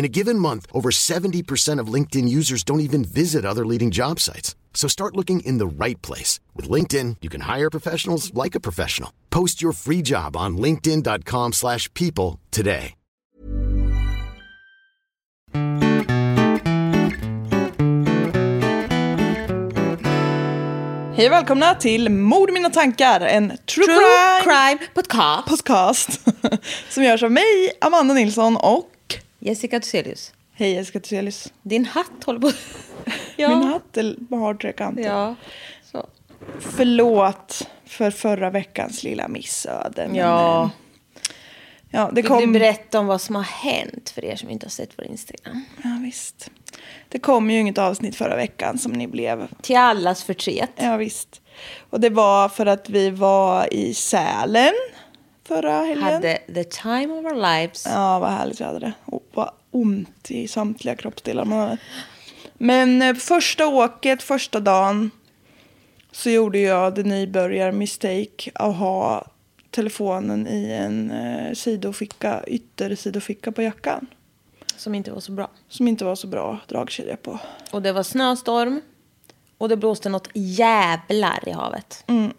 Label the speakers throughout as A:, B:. A: In a given month, over 70% of LinkedIn users don't even visit other leading job sites. So start looking in the right place. With LinkedIn, you can hire professionals like a professional. Post your free job on linkedin.com slash people today.
B: Hej och välkomna till Mord i mina tankar, en true,
C: True
B: crime,
C: crime podcast.
B: podcast som görs av mig, Amanda Nilsson och
C: Jessica Thyselius.
B: hej Jessica Thyselius.
C: Din hatt håller på... ja.
B: Min hatt är- har trekanter.
C: Ja. Så.
B: Förlåt för förra veckans lilla missöde. men, eh,
C: ja.
B: ja, det
C: Vill du
B: kom...
C: berätta om vad som har hänt för er som inte har sett vår Instagram?
B: Ja, visst. Det kom ju inget avsnitt förra veckan som ni blev.
C: Till allas förtret.
B: Ja, visst. Och det var för att vi var i Sälen förra helgen.
C: Hade the time of our lives.
B: Ja, vad härligt vi hade det. Och vad ont i samtliga kroppsdelar man hade. Men eh, första åket, första dagen så gjorde jag det nybörjar-mistake att ha telefonen i en eh, sidoficka, yttersidoficka på jackan.
C: Som inte var så bra.
B: Som inte var så bra dragkedja på.
C: Och det var snöstorm. Och det blåste något jävlar i havet.
B: Mm.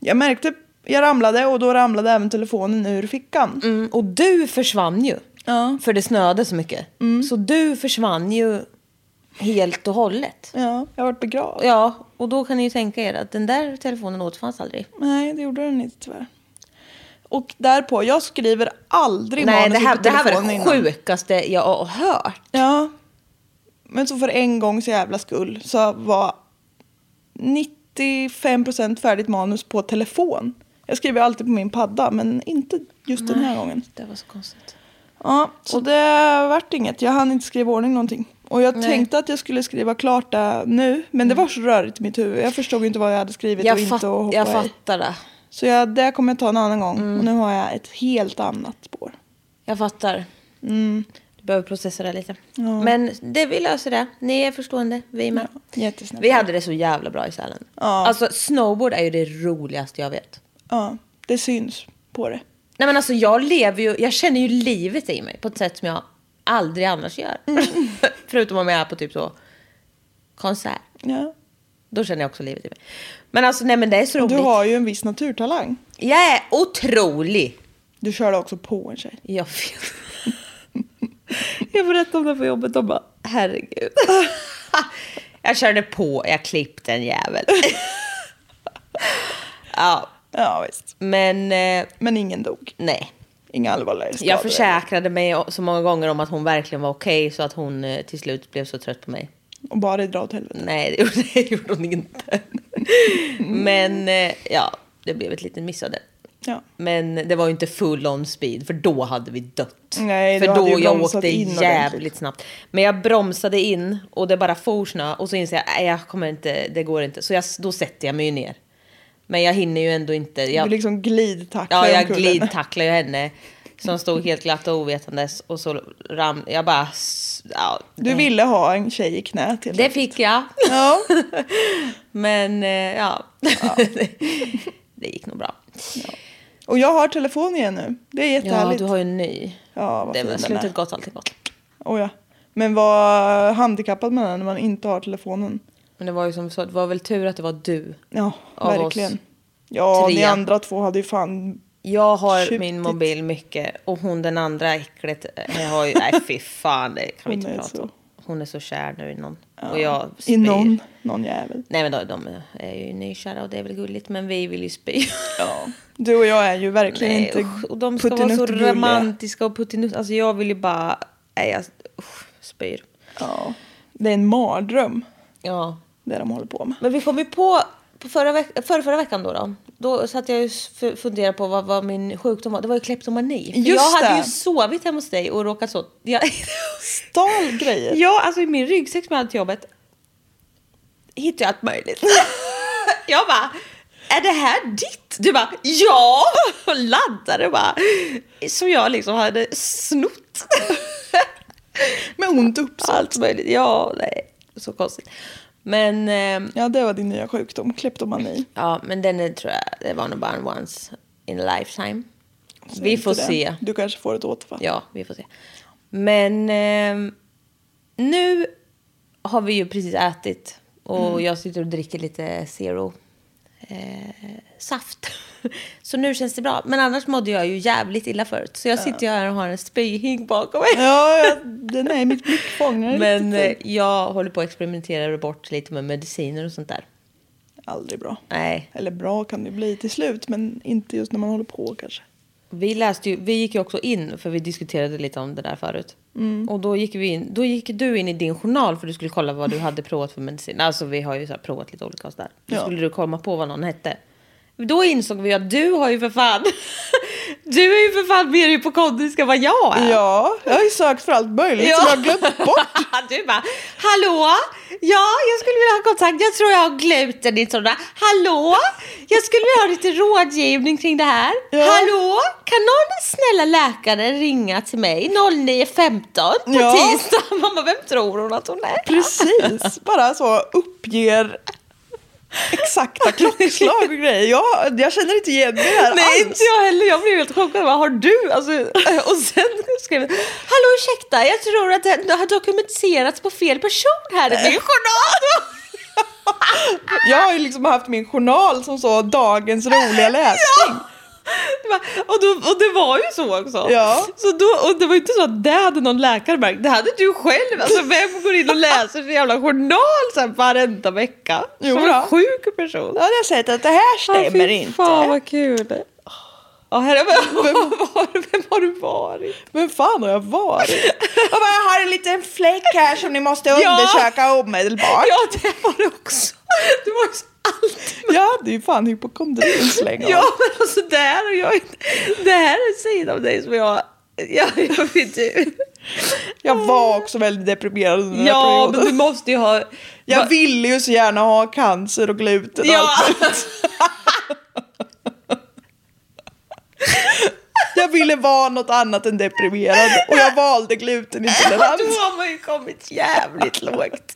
B: Jag märkte, jag ramlade och då ramlade även telefonen ur fickan.
C: Mm, och du försvann ju.
B: Ja. Mm.
C: För det snöade så mycket. Så du försvann ju helt och hållet.
B: ja, jag vart begravd.
C: Ja, och då kan ni ju tänka er att den där telefonen återfanns aldrig.
B: Nej, det gjorde den inte tyvärr. Och därpå, jag skriver aldrig
C: Nej, det
B: manuset
C: här,
B: på
C: det här var
B: telefonen
C: det
B: innan.
C: sjukaste jag har hört.
B: Ja. Men så för en gångs jävla skull så var 95% färdigt manus på telefon. Jag skriver alltid på min padda men inte just den här gången.
C: Det var så konstigt.
B: Ja, så det vart inget. Jag hann inte skriva i ordning någonting. Och jag tänkte att jag skulle skriva klart det nu, men det var så rörigt i mitt huvud. Jag förstod inte vad Mm. jag hade skrivit och
C: Jag,
B: inte
C: fatt,
B: och hoppa
C: jag
B: i.
C: fattar det.
B: Så jag, det kommer jag ta en annan gång. Och nu har jag ett helt annat spår.
C: Jag fattar.
B: Mm.
C: Du behöver processa det lite. Men det, vi löser det. Ni är förstående, vi är med.
B: Jättesnällt.
C: Vi hade det så jävla bra i Sälen. Alltså snowboard är ju det roligaste jag vet.
B: Ja, det syns på det.
C: Nej men alltså jag lever ju, jag känner ju livet i mig på ett sätt som jag aldrig annars gör.
B: Mm.
C: Förutom om jag är på typ så konsert.
B: Ja.
C: Då känner jag också livet i mig. Men alltså nej men det är så
B: Du
C: roligt.
B: har ju en viss naturtalang.
C: Jag är otrolig.
B: Du körde också på en tjej.
C: Jag vet. jag berättade om det på jobbet och bara, herregud. jag körde på, jag klippte en jävel. ja,
B: Ja visst.
C: men eh,
B: Men ingen dog.
C: nej.
B: Inga allvarliga skador.
C: Jag försäkrade mig så många gånger om att hon verkligen var okej så att hon eh, till slut blev så trött på mig.
B: Och bara dra åt helvete.
C: Nej, det gjorde, det gjorde hon inte. Men eh, ja, det blev ett litet missöde.
B: Ja.
C: Men det var ju inte full on speed, för då hade vi dött.
B: Nej,
C: för
B: du hade ju
C: jag
B: bromsat
C: åkte
B: in ordentligt.
C: jävligt snabbt. Men jag bromsade in och det bara for snö och så inser jag nej, jag kommer inte, det går inte. Så jag, då sätter jag mig ju ner. Men jag hinner ju ändå inte.
B: Du
C: Jag,
B: liksom glidtacklar
C: ja, jag
B: omkull
C: glidtacklar ju henne som stod helt glatt och ovetandes och så ram, jag bara... s- Ja,
B: Du ville ha en tjej i knät. helt
C: Mm. det
B: enkelt.
C: fick jag.
B: Ja.
C: Men eh, ja, det gick nog bra.
B: Och jag har telefon igen nu. Det är
C: Ja,
B: jättehärligt.
C: du har ju en ny.
B: Ja, vad
C: det
B: fin
C: var
B: den är.
C: slutet gott, allting gott.
B: Oh, ja. Men vad handikappad man är när man inte har telefonen.
C: Men det var ju som vi sa, det var väl tur att det var du.
B: Ja,
C: Av oss
B: verkligen. Ja,
C: tre.
B: ni andra två hade ju fan...
C: Jag har
B: Tjutigt.
C: min mobil mycket och hon den andra äcklet. eh, Jag har ju, nej fy fan, det kan vi
B: Hon
C: inte
B: är
C: prata
B: så-
C: om. Hon är så kär nu i någon. Och jag spyr.
B: I någon, någon jävel.
C: Nej men då, de är ju nykära och det är väl gulligt men vi vill ju spy.
B: Ja. Du och jag är ju verkligen
C: Nej,
B: inte
C: usch, och de ska vara så
B: puttinuttgulliga.
C: romantiska och puttinutt. Alltså jag vill ju bara, nej jag usch, spyr.
B: Ja. Det är en mardröm,
C: Ja.
B: det de håller på med.
C: Men vi kom ju på, på förra, veck- förra, förra veckan då, då. Då satt jag ju och funderade på vad, vad min sjukdom var. Det var ju kleptomani. För
B: Just
C: jag hade
B: det.
C: ju sovit hemma hos dig och råkat så. Jag,
B: Stal grejer.
C: ja, alltså i min ryggsäck som jag hade till jobbet. Hittade jag allt möjligt. jag bara, är det här ditt? Du bara, ja! Och laddade och bara. Som jag liksom hade snott.
B: Med ont uppsåt.
C: allt möjligt. Ja, nej. Så konstigt. Men... ehm,
B: Ja, det var din nya sjukdom, kleptomani.
C: Ja, men den är, tror jag, det var nog bara en once in a lifetime.
B: Så
C: vi
B: inte
C: får
B: det.
C: se.
B: Du kanske får ett återfall.
C: Ja, vi får se. Men ehm, nu har vi ju precis ätit och
B: Mm.
C: jag sitter och dricker lite zero eh, saft. Så nu känns det bra. Men annars mådde jag ju jävligt illa förut. Så jag sitter ju här och har en spyhink bakom mig.
B: Ja, ja, den är i mitt blickfång. Den är
C: Men eh,
B: riktigt fin.
C: jag håller på att experimentera bort lite med mediciner och sånt där.
B: Aldrig bra.
C: Nej,
B: Eller bra kan det bli till slut, men inte just när man håller på kanske.
C: Vi, läste ju, vi gick ju också in, för vi diskuterade lite om det där förut.
B: Mm.
C: Och då gick, vi in, då gick du in i din journal för du skulle kolla vad du hade provat för medicin. Alltså vi har ju så här provat lite olika och sådär. Då
B: Ja.
C: skulle du komma på vad någon hette. Då insåg vi att du har ju för fan... du är ju för fan mer hypokondrisk än vad jag är.
B: Ja, jag har ju sökt för allt möjligt som jag har glömt bort.
C: du bara, hallå? Ja, jag skulle vilja ha kontakt. Jag tror jag har gluten i sådana. Hallå? Jag skulle vilja ha lite rådgivning kring det här.
B: Ja.
C: Hallå? Kan någon snälla läkare ringa till mig 09.15 på
B: Ja.
C: tisdag? Mamma, vem tror hon att hon är?
B: Precis, bara så uppger exakta klockslag och grejer. Jag, jag känner inte igen mig här
C: Nej,
B: alls.
C: inte jag heller. Jag blev helt chockad. Vad har du? Alltså, och sen skrev jag, hallå ursäkta, jag tror att det har dokumenterats på fel person här i min journal.
B: Jag har ju liksom haft min journal som så dagens roliga läsning.
C: Det var- Och, då, och det var ju så också.
B: Ja.
C: Så då, och det var ju inte så att det hade någon läkare märkt. Det hade du själv. Alltså vem går in och läser sin jävla journal sen varenda vecka?
B: Jo
C: Som en
B: då.
C: sjuk person.
B: Då hade jag sett att det här
C: Nej,
B: stämmer inte.
C: Fan vad kul. Oh, herre, vem, vem, var, vem har du varit?
B: Men fan har jag varit? Jag, bara, jag har en liten fläck här som ni måste undersöka omedelbart.
C: Ja, det var det också. Du var ju så alltid med.
B: Jag hade ju fan hypokondrins länge.
C: Ja, men alltså det här, har jag, inte- det här är en sida av dig som jag... Jag, jag vet ju.
B: Jag var också väldigt deprimerad under den här
C: Ja, men
B: perioden.
C: du måste ju ha...
B: Jag
C: Va-
B: ville ju så gärna ha cancer och gluten och
C: Ja.
B: allt möjligt. Jag ville vara något annat än deprimerad och jag valde glutenintolerans.
C: Du har man ju kommit jävligt lågt.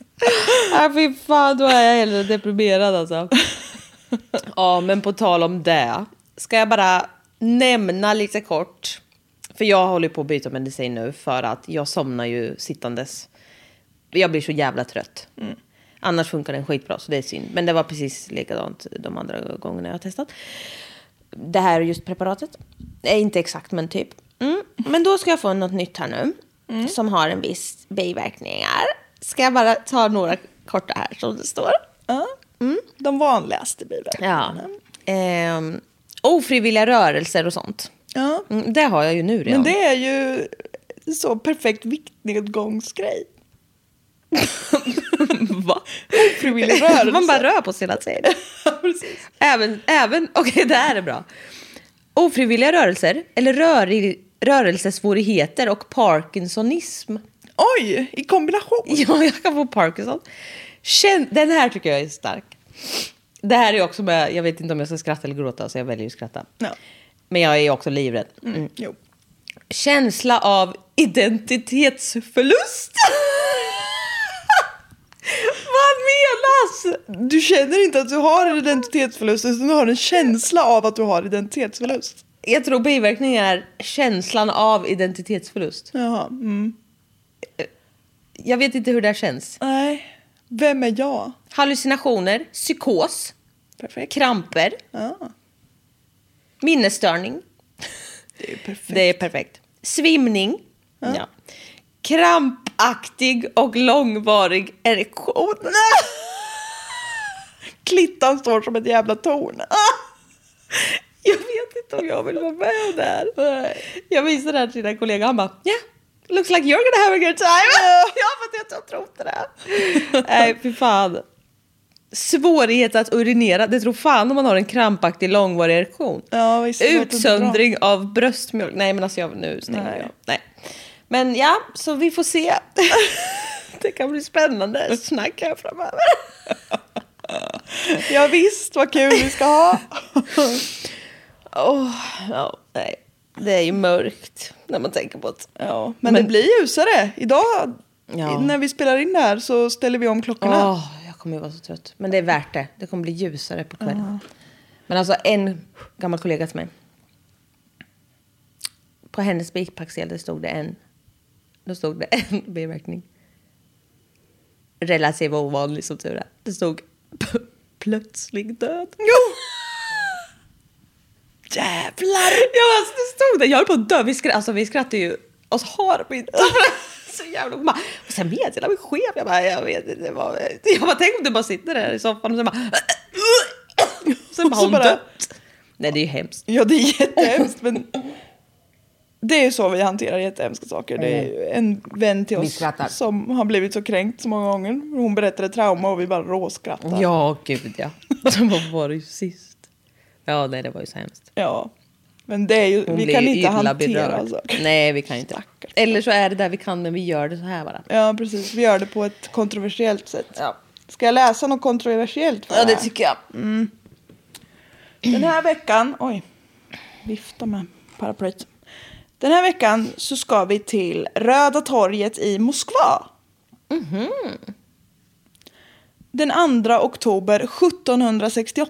C: Nej fy fan, då är jag hellre deprimerad alltså. Ja, men på tal om det. Ska jag bara nämna lite kort. För jag håller på att byta medicin nu för att jag somnar ju sittandes. Jag blir så jävla trött. Annars funkar den skitbra, så det är synd. Men det var precis likadant de andra gångerna jag har testat det här just preparatet. Eh, inte exakt, men typ. Mm. Men då ska jag få något nytt här nu.
B: Mm.
C: Som har en viss biverkningar. Ska jag bara ta några korta här som det står.
B: Ja. Mm, De vanligaste biverkningarna.
C: Ehm, ofrivilliga rörelser och sånt.
B: Ja.
C: Mm, det har jag ju nu redan.
B: Men det är ju så perfekt viktnedgångsgrej.
C: Va?
B: Ofrivillig rörelse.
C: Man bara rör på sig hela tiden.
B: Precis.
C: Även, även okej det här är bra. Ofrivilliga rörelser eller rör, rörelsesvårigheter och parkinsonism.
B: Oj, i kombination.
C: Ja, jag kan få Parkinson. Känn, den här tycker jag är stark. Det här är också med, jag vet inte om jag ska skratta eller gråta, så jag väljer att skratta.
B: Ja.
C: Men jag är också livrädd. Mm.
B: Jo.
C: Känsla av identitetsförlust. Vad menas?
B: Du känner inte att du har en identitetsförlust utan du har en känsla av att du har identitetsförlust.
C: Jag tror biverkning är känslan av identitetsförlust.
B: Jaha. Mm.
C: Jag vet inte hur det här känns.
B: Nej. Vem är jag?
C: Hallucinationer, psykos,
B: Perfekt.
C: kramper,
B: Ja,
C: minnesstörning.
B: det är ju perfekt.
C: Det är perfekt. Svimning. Ja. Krampaktig och långvarig erektion.
B: Klittan står som ett jävla torn. Ah!
C: Jag vet inte om jag vill vara med om det här. Jag visade det här till en kollega han bara yeah, looks like you're gonna have a good time. ja, för att jag tror inte det. Nej, fy fan. Svårighet att urinera, det tror fan om man har en krampaktig långvarig erektion.
B: Ja, visst, det låter inte
C: Utsöndring av bröstmjölk. Nej, men alltså jag, nu stänger
B: Nej.
C: jag. Nej. Men ja, så vi får se. det kan bli spännande snack här framöver.
B: Ja, visst, vad kul vi ska ha.
C: Åh, ja, nej. Det är ju mörkt när man tänker på det.
B: Ja, men, det blir ljusare. Idag
C: Ja.
B: när vi spelar in det här så ställer vi om klockorna.
C: Åh, jag kommer ju vara så trött. Men det är värt det. Det kommer bli ljusare på kvällen. Men alltså en gammal kollega till mig. På hennes bipacksedel det stod det en. Då stod det en biverkning. Relativt ovanlig som tur är. Det stod p- plötslig död. Jo! Jävlar! Ja, alltså, det stod det. Jag höll på att dö. Vi, skra- alltså, vi skrattade ju oss harmynt. Så jävla... Hon bara, och sen vet jag, hela min chef. Jag bara, jag vet inte. Vad... Jag bara, tänk om du bara sitter där i soffan och sen bara... Sen bara,
B: Så
C: hon
B: bara-
C: dött. Nej, det är ju hemskt.
B: Ja, det är jättehemskt, men det är ju så vi hanterar jättehemska saker. Det är ju en vän till
C: Vi
B: oss
C: skrattar.
B: som har blivit så kränkt så många gånger. Hon berättade trauma och vi bara råskrattar.
C: Ja, gud ja. Sen bara, var det ju sist? Ja, nej, det var ju så hemskt.
B: Ja. Men det är ju,
C: Hon
B: vi
C: blir
B: kan
C: ju
B: inte
C: illa
B: hantera alltså.
C: berörd.
B: saker.
C: Nej, vi kan ju inte. Eller så är det där vi kan, men vi gör det så här bara.
B: Ja, precis. Vi gör det på ett kontroversiellt sätt. Ska jag läsa något kontroversiellt för
C: Ja, det
B: här?
C: tycker jag.
B: Den här veckan, oj, vifta med paraplyet. Den här veckan så ska vi till Röda torget i Moskva. Mhm. Den 2 oktober 1768.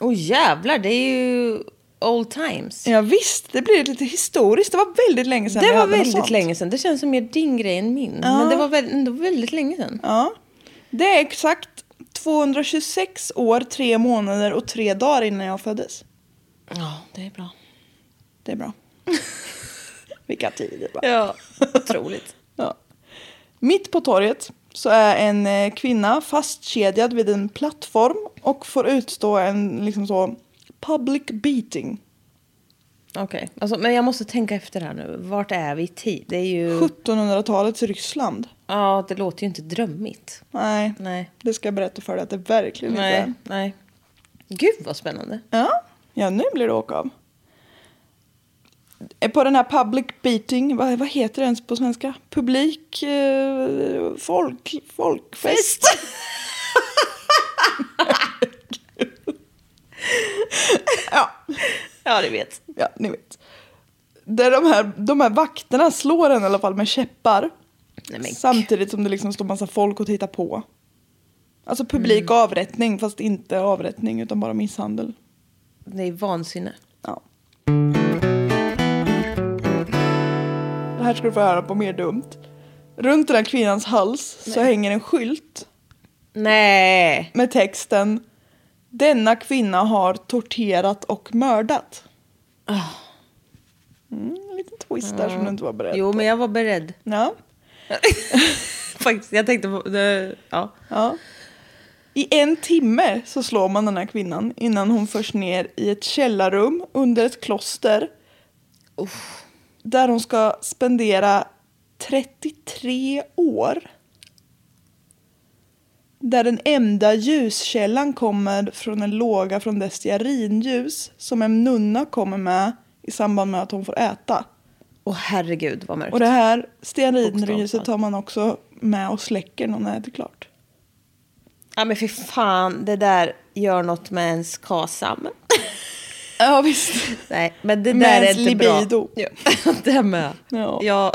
C: Åh jävlar, det är ju old times.
B: Ja visst, det blir lite historiskt. Det var väldigt länge sedan
C: det
B: vi
C: var
B: hade något
C: väldigt
B: sånt.
C: länge sedan. Det känns som mer din grej än min. Men det var väl, ändå väldigt länge sedan.
B: Ja. Det är exakt 226 år, tre månader och tre dagar innan jag föddes.
C: Ja, det är bra.
B: Det är bra. Vilka tider va?
C: Ja, otroligt.
B: Ja. Mitt på torget så är en eh, kvinna fastkedjad vid en plattform och får utstå en liksom så public beating.
C: Okej, alltså, men jag måste tänka efter här nu. Vart är vi i tid? Det är ju...
B: 1700-talets Ryssland.
C: Ja, det låter ju inte drömmigt.
B: Nej,
C: Nej.
B: det ska jag berätta för dig att det verkligen inte
C: Nej,
B: är.
C: nej. Gud vad spännande.
B: Ja, ja nu blir det åka av. Eh, På den här public beating, vad, vad heter det ens på svenska? Publik, eh, folk, folkfest.
C: Ja, det vet.
B: Ja, ni vet. Där de här, de här vakterna slår en i alla fall med käppar.
C: Nej, men
B: Samtidigt som det liksom står massa folk och tittar på. Alltså publik
C: Mm.
B: avrättning, fast inte avrättning utan bara misshandel.
C: Det är vansinne.
B: Ja. Det här ska du få höra på mer dumt. Runt den här kvinnans hals så hänger en skylt
C: Nej.
B: med texten Denna kvinna har torterat och mördat.
C: Ah.
B: Mm, en liten twist där som du inte var beredd
C: Jo, men jag var beredd.
B: Ja.
C: Faktiskt, jag tänkte på... Det, ja.
B: Ja. I en timme så slår man den här kvinnan innan hon förs ner i ett källarrum under ett kloster. Där hon ska spendera 33 år. Där den enda ljuskällan kommer från en låga från dess stearinljus som en nunna kommer med i samband med att hon får äta.
C: Åh herregud vad mörkt.
B: Och det här
C: Bokstavsfall.
B: stearinljuset tar man också med och släcker när hon äter klart.
C: Ja men fy fan, det där gör något med ens KASAM.
B: Ja visst.
C: Nej, men det
B: Med
C: där är
B: ens
C: inte
B: libido.
C: bra. Ja, det med.
B: Ja.
C: Ja.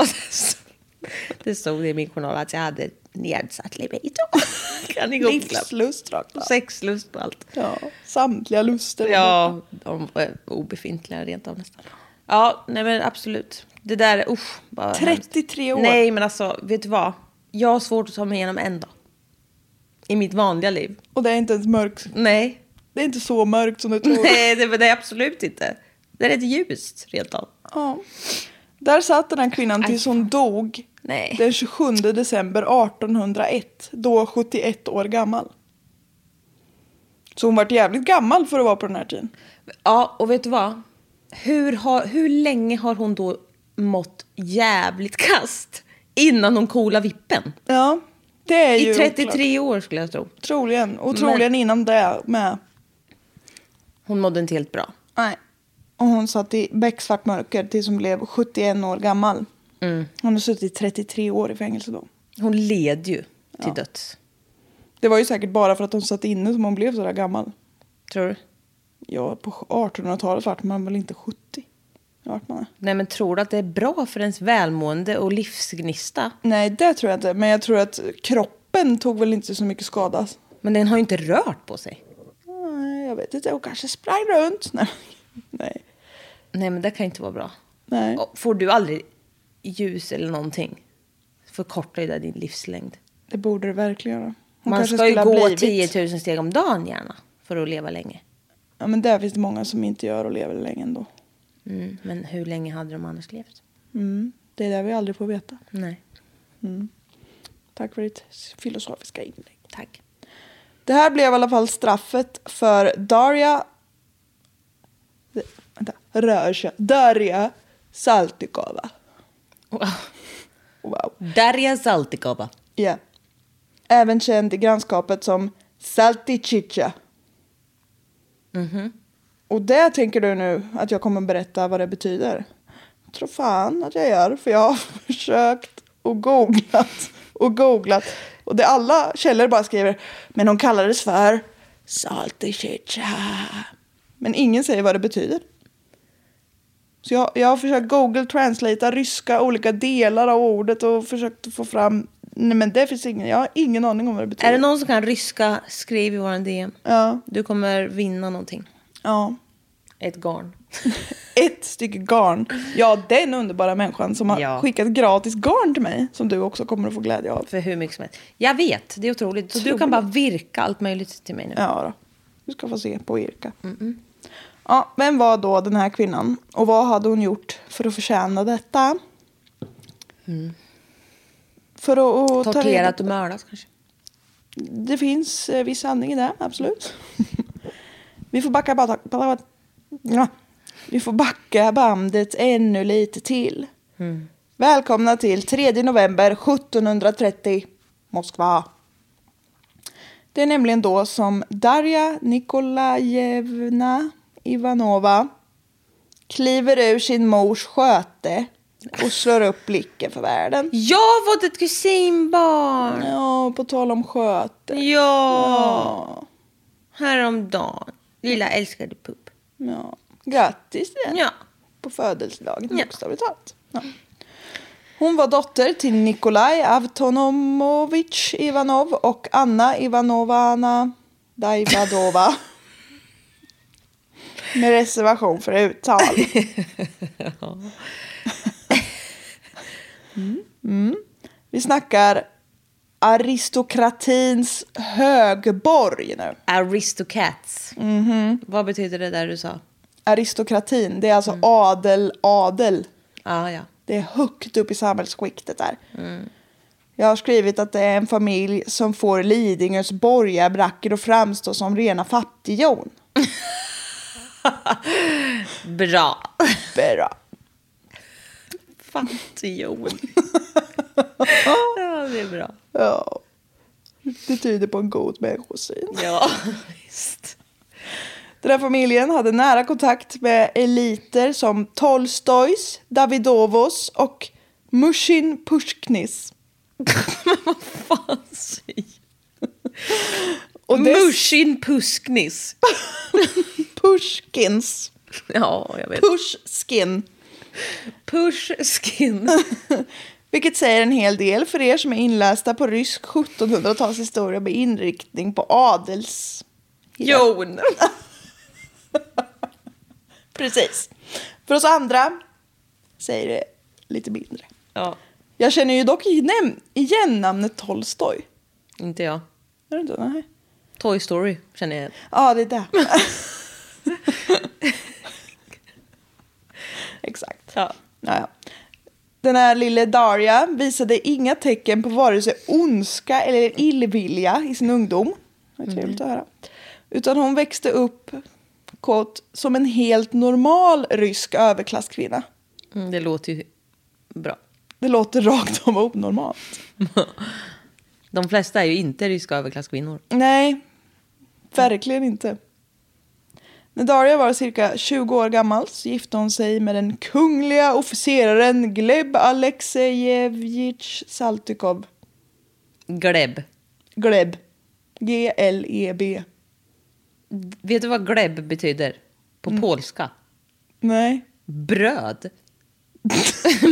C: det stod i min journal att jag hade nedsatt libido. kan ni googla.
B: Livslust rakt av.
C: Sexlust på allt.
B: Ja, samtliga luster.
C: Ja, de var obefintliga rent av nästan. Ja, nej men absolut. Det där, usch. vad hemskt.
B: 33 år.
C: Nej men alltså, vet du vad? Jag har svårt att ta mig igenom en dag. I mitt vanliga liv.
B: Och det är inte ens mörkt.
C: Nej,
B: Det är inte så mörkt som du tror.
C: nej det, det är absolut inte. Det är rätt ljust rent av.
B: Ja. Där satt den här kvinnan tills hon dog
C: Nej.
B: den 27 december 1801, då 71 år gammal. Så hon vart jävligt gammal för att vara på den här tiden.
C: Ja, och vet du vad? Hur, har, hur länge har hon då mått jävligt kast innan hon coola vippen?
B: Ja, det är ju
C: I 33
B: oklart.
C: år skulle jag tro.
B: Troligen, och troligen innan det med.
C: Hon mådde inte helt bra.
B: Nej. Och hon satt i becksvart mörker tills hon blev 71 år gammal.
C: Mm.
B: Hon har suttit 33 år i fängelse då.
C: Hon led ju till döds.
B: Det var ju säkert bara för att hon satt inne som hon blev så där gammal.
C: Tror du?
B: Ja, på 1800-talet vart man väl inte 70? Vart man är.
C: Nej, men tror du att det är bra för ens välmående och livsgnista?
B: Nej, det tror jag inte. Men jag tror att kroppen tog väl inte så mycket skada.
C: Men den har ju inte rört på sig.
B: Nej, Jag vet inte, hon kanske sprang runt. Nej, nej.
C: Nej, men det kan ju inte vara bra.
B: nej.
C: Och Får du aldrig ljus eller någonting förkortar ju det din livslängd.
B: Det borde det verkligen göra. Hon
C: Man
B: kanske
C: ska ju
B: skulle ha
C: gå
B: blivit-
C: 10 000 steg om dagen gärna för att leva länge.
B: Ja, men där finns det många som inte gör och lever länge ändå.
C: Mm, men hur länge hade de annars levt?
B: Mm. Det är det vi aldrig får veta.
C: Nej.
B: Tack för ditt filosofiska inlägg.
C: Tack.
B: Det här blev i alla fall straffet för Daria... Vänta. Rörsha. Daria Saltykova. Wow.
C: Darja Saltikova.
B: Ja. Även känd i grannskapet som Saltichicha. Och det tänker du nu att jag kommer berätta vad det betyder? Jag tror fan att jag gör, för jag har försökt och googlat och googlat. Och det alla källor bara skriver, men hon kallades för Saltichicha. Men ingen säger vad det betyder. Så jag, jag har försökt google translatea ryska olika delar av ordet och försökt få fram... Nej men det finns ingen, jag har ingen aning om vad det betyder.
C: Är det någon som kan ryska, skriv i våran DM.
B: Ja.
C: Du kommer vinna någonting.
B: Ja.
C: Ett garn.
B: Ett stycke garn. Ja, den underbara människan som har
C: Ja.
B: skickat gratis garn till mig som du också kommer att få glädje av.
C: För hur mycket som helst. Jag vet, det är otroligt. Så du kan bara virka allt möjligt till mig nu.
B: Ja då. Du ska få se på Irka. Ja, vem var då den här kvinnan? Och vad hade hon gjort för att förtjäna detta? För att, att ta reda
C: Mm. Torterat och mördat kanske.
B: Det finns eh, viss sanning i det, absolut. Vi får backa, bata- bata- ja. Vi får backa bandet ännu lite till. Välkomna till 3 november 1730, Moskva. Det är nämligen då som Darja Nikolajevna Ivanova kliver ur sin mors sköte och slår upp blicken för världen.
C: Jag var ett kusinbarn!
B: Ja, på tal om sköte.
C: Ja!
B: Ja.
C: Häromdagen. Lilla älskade pupp.
B: Ja. Grattis igen.
C: Ja.
B: På födelsedagen,
C: Ja.
B: bokstavligt talat. Ja. Hon var dotter till Nikolaj Avtonomovich Ivanov och Anna Ivanovna Daivadova. Med reservation för uttal. Mm. Mm. Vi snackar aristokratins högborg nu.
C: Aristocats. Vad betyder det där du sa?
B: aristokratin, det är
C: Mm.
B: alltså adel, adel.
C: Ja, ja.
B: Det är högt upp i samhällsskiktet där. Jag har skrivit att det är en familj som får Lidingös borgarbracker att framstå som rena fattighjon.
C: Bra.
B: Bra.
C: Fattighjon. ja, det är bra.
B: Ja. Det tyder på en god människosyn.
C: Ja, visst.
B: Den här familjen hade nära kontakt med eliter som Tolstojs, Davidovos och Mushin Pushknis.
C: Fan, säg.
B: Och dess-
C: Mushin Pusknis.
B: Pushkins.
C: Ja, jag vet.
B: Pushkin.
C: Pushkin.
B: Vilket säger en hel del för er som är inlästa på rysk 1700-talshistoria med inriktning på adels...
C: Jon!
B: Precis. För oss andra säger det lite mindre.
C: Ja,
B: Jag känner ju dock igen, igen namnet Tolstoj.
C: inte jag.
B: Är det inte? Nej.
C: Toy Story känner jag igen.
B: Ja, det är det. Exakt.
C: Ja.
B: Naja. Den här lille Daria visade inga tecken på vare sig ondska eller illvilja i sin ungdom. Det är trevligt att höra. Utan hon växte upp kort som en helt normal rysk överklasskvinna.
C: Mm, det låter ju bra.
B: Det låter rakt om onormalt.
C: De flesta är ju inte ryska överklasskvinnor.
B: Nej, verkligen inte. När Daria var cirka 20 år gammal så gifte hon sig med den kungliga officeraren Gleb Alexejevitj Saltykov.
C: Gleb.
B: Gleb. E G-L-E-B.
C: Vet du vad gleb betyder på
B: Mm.
C: polska?
B: Nej.
C: Bröd.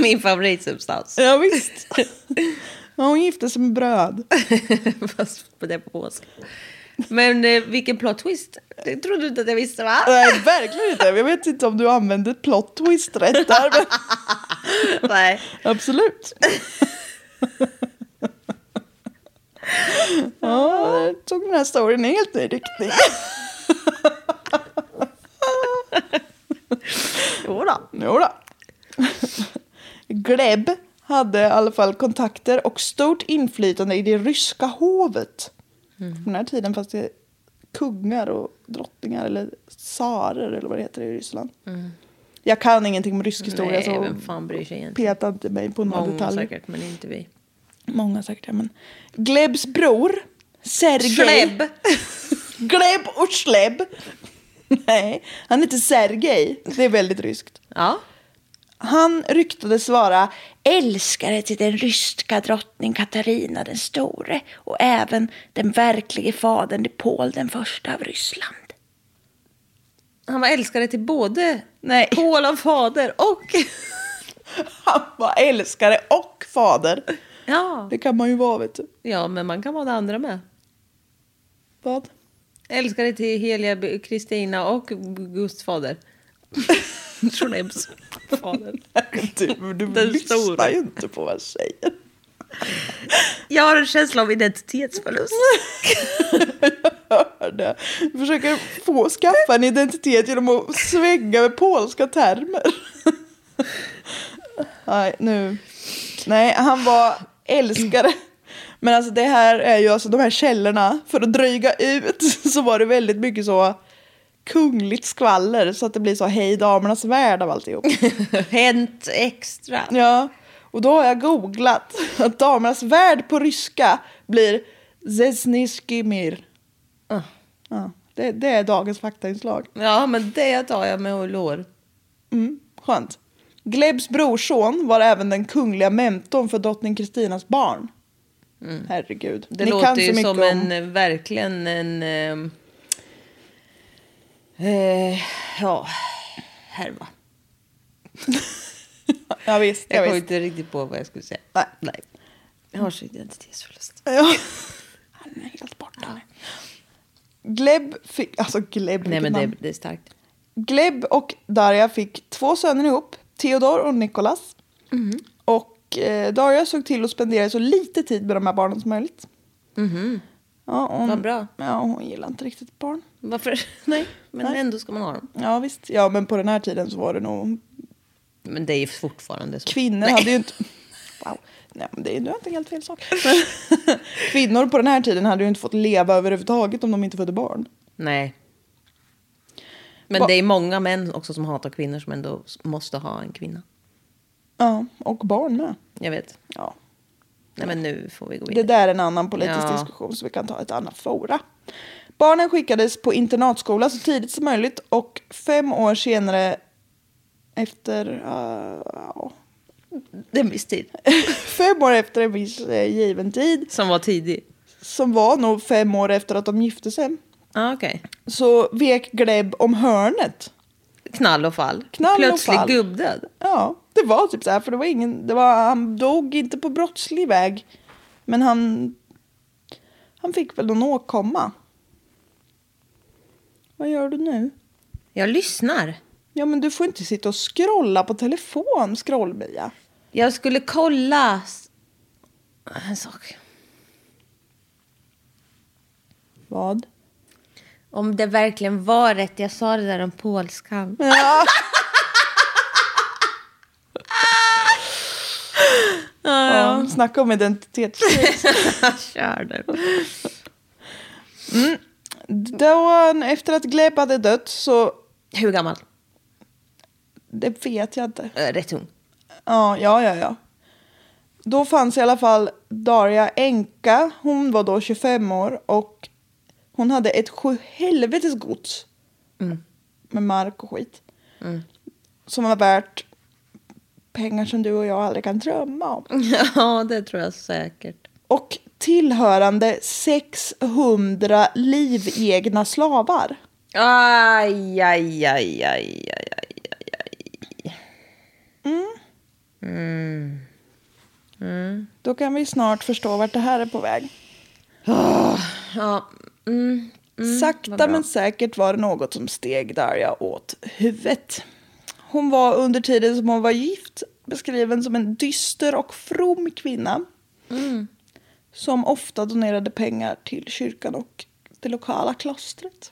C: Min favoritsubstans.
B: Ja, visst. Men hon gifte sig med bröd.
C: Fast på det på polska. Men eh, vilken plot twist. Det trodde du inte att jag visste va?
B: Nej, verkligen inte. Jag vet inte om du använde plot twist rätt där. Men
C: Nej.
B: absolut. Ja, där tog den här storyn i helt ny riktning.
C: Jodå.
B: Jodå. Gleb hade i alla fall kontakter och stort inflytande i det ryska hovet.
C: Mm.
B: På den här tiden fanns det kungar och drottningar eller tsarer eller vad det heter i Ryssland. Jag kan ingenting om rysk historia
C: Mm. Nej,
B: så
C: vem fan bryr sig egentligen?
B: peta inte mig på några
C: Många
B: detaljer.
C: Mm, säkert, men inte vi.
B: Många säkert, ja, men. Glebs bror, Sergej.
C: Gleb!
B: Gleb och Schleb. Nej, han heter Sergej. Det är väldigt ryskt.
C: Ja.
B: Han ryktades vara
D: älskare till den ryska drottning Katarina den store och även den verklige fadern till Paul den första av Ryssland.
C: Han var älskare till både Nej. Paul och fader och...
B: Han var älskare och fader.
C: Ja.
B: Det kan man ju vara, vet du.
C: ja, men man kan vara det andra med.
B: Vad?
C: Älskare till heliga B- Kristina och Gusts fader. Schlebs fader.
B: Du, du
C: Den
B: lyssnar
C: stora.
B: ju inte på vad jag säger.
C: Jag har en känsla av identitetsförlust.
B: Hör det. Jag försöker få skaffa en identitet genom att svänga med polska termer. Nej, nu. Nej, han var älskare. Men alltså det här är ju alltså de här källorna. För att dryga ut så var det väldigt mycket så kungligt skvaller. Så att det blir så hej damernas värld av alltihop.
C: Hänt extra.
B: Ja, och då har jag googlat att damernas värld på ryska blir Zesniski mir.
C: Ah.
B: Ja, det, det är dagens faktainslag.
C: Ja, men det tar jag med hull och hår.
B: Mm, skönt. Glebs brorson var även den kungliga mentorn för drottning Kristinas barn. Herregud.
C: Mm. Det låter ju som
B: om-
C: en, eh, verkligen en... ehm, Eh, ja, härva.
B: Ja, visst,
C: Jag
B: jag
C: kommer
B: visst.
C: inte riktigt på vad jag skulle säga.
B: Nej.
C: Nej. Jag har så identitetsförlust.
B: Ja. Han är helt borta. Gleb fick... Alltså Gleb,
C: Nej,
B: vilket
C: men det,
B: namn.
C: det är starkt.
B: Gleb och Darja fick två söner ihop, Theodor och Nikolas.
C: Mm-hmm.
B: Och eh, Darja såg till att spendera så lite tid med de här barnen som möjligt. Ja, hon,
C: Mm-hmm. Vad bra.
B: Ja, hon gillar inte riktigt barn.
C: Varför? Nej, men
B: Nej.
C: ändå ska man ha dem.
B: Ja, visst. Ja, men på den här tiden så var det nog...
C: Men det är ju fortfarande så.
B: Kvinnor hade ju inte... Wow. Nej, men det är, nu har jag inte helt fel sak. Men, kvinnor på den här tiden hade ju inte fått leva överhuvudtaget om de inte födde barn.
C: Nej. Men
B: Va-
C: det är många män också som hatar kvinnor som ändå s- måste ha en kvinna.
B: Ja, och barn med.
C: Jag vet.
B: Ja.
C: Nej, men nu får vi gå
B: Det
C: in.
B: där är en annan politisk
C: Ja.
B: diskussion som vi kan ta i ett annat fora. Barnen skickades på internatskola så tidigt som möjligt och fem år senare efter... eh, ja,
C: Det är en viss tid.
B: fem år efter en viss eh, given tid,
C: Som var tidig.
B: som var nog fem år efter att de gifte sig,
C: Ah, Okej.
B: så vek Gleb om hörnet.
C: Knall och fall.
B: Knall och
C: Plötslig
B: fall.
C: gubbdöd.
B: Ja, det det var typ så här, för det var ingen, det var, han dog inte på brottslig väg. Men han, han fick väl någon åkomma. Vad gör du nu?
C: Jag lyssnar.
B: Ja men du får inte sitta och scrolla på telefon, scroll-Mia.
C: Jag skulle kolla... s- En sak.
B: Vad?
C: Om det verkligen var rätt jag sa det där om polskan.
B: Ja. ja, snacka om identitetskris.
C: Kör du.
B: Då, efter att Gleb hade dött så,
C: Hur gammal?
B: det vet jag inte.
C: Äh, Rätt ung.
B: Ja, ja, ja, ja. Då fanns i alla fall Daria Enka. Hon var då 25 år och hon hade ett sjuhelvetes gods. Med mark och skit. Som var värt pengar som du och jag aldrig kan drömma om.
C: Mm. Ja, det tror jag säkert.
B: Och tillhörande 600 livegna slavar.
C: Aj, aj, aj, aj, aj.
B: Då kan vi snart förstå vart det här är på väg.
C: Ja,
B: Sakta men säkert var det något som steg Darja åt huvudet. Hon var under tiden som hon var gift beskriven som en dyster och from kvinna. Som ofta donerade pengar till kyrkan och det lokala klostret.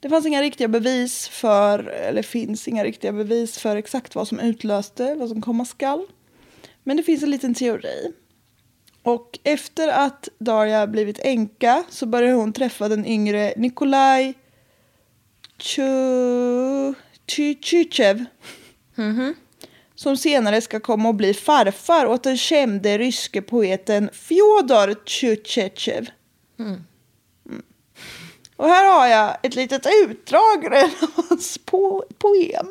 B: Det fanns inga riktiga bevis för, eller finns inga riktiga bevis för exakt vad som utlöste, vad som komma skall. Men det finns en liten teori. Och efter att Darja blivit änka så började hon träffa den yngre Nikolaj Tju- Tju- Tjutjev. Som senare ska komma och bli farfar åt den kände ryske poeten Fjodor Tjutjetjev. Mm. Och här har jag ett litet utdrag ur en av hans po- poem.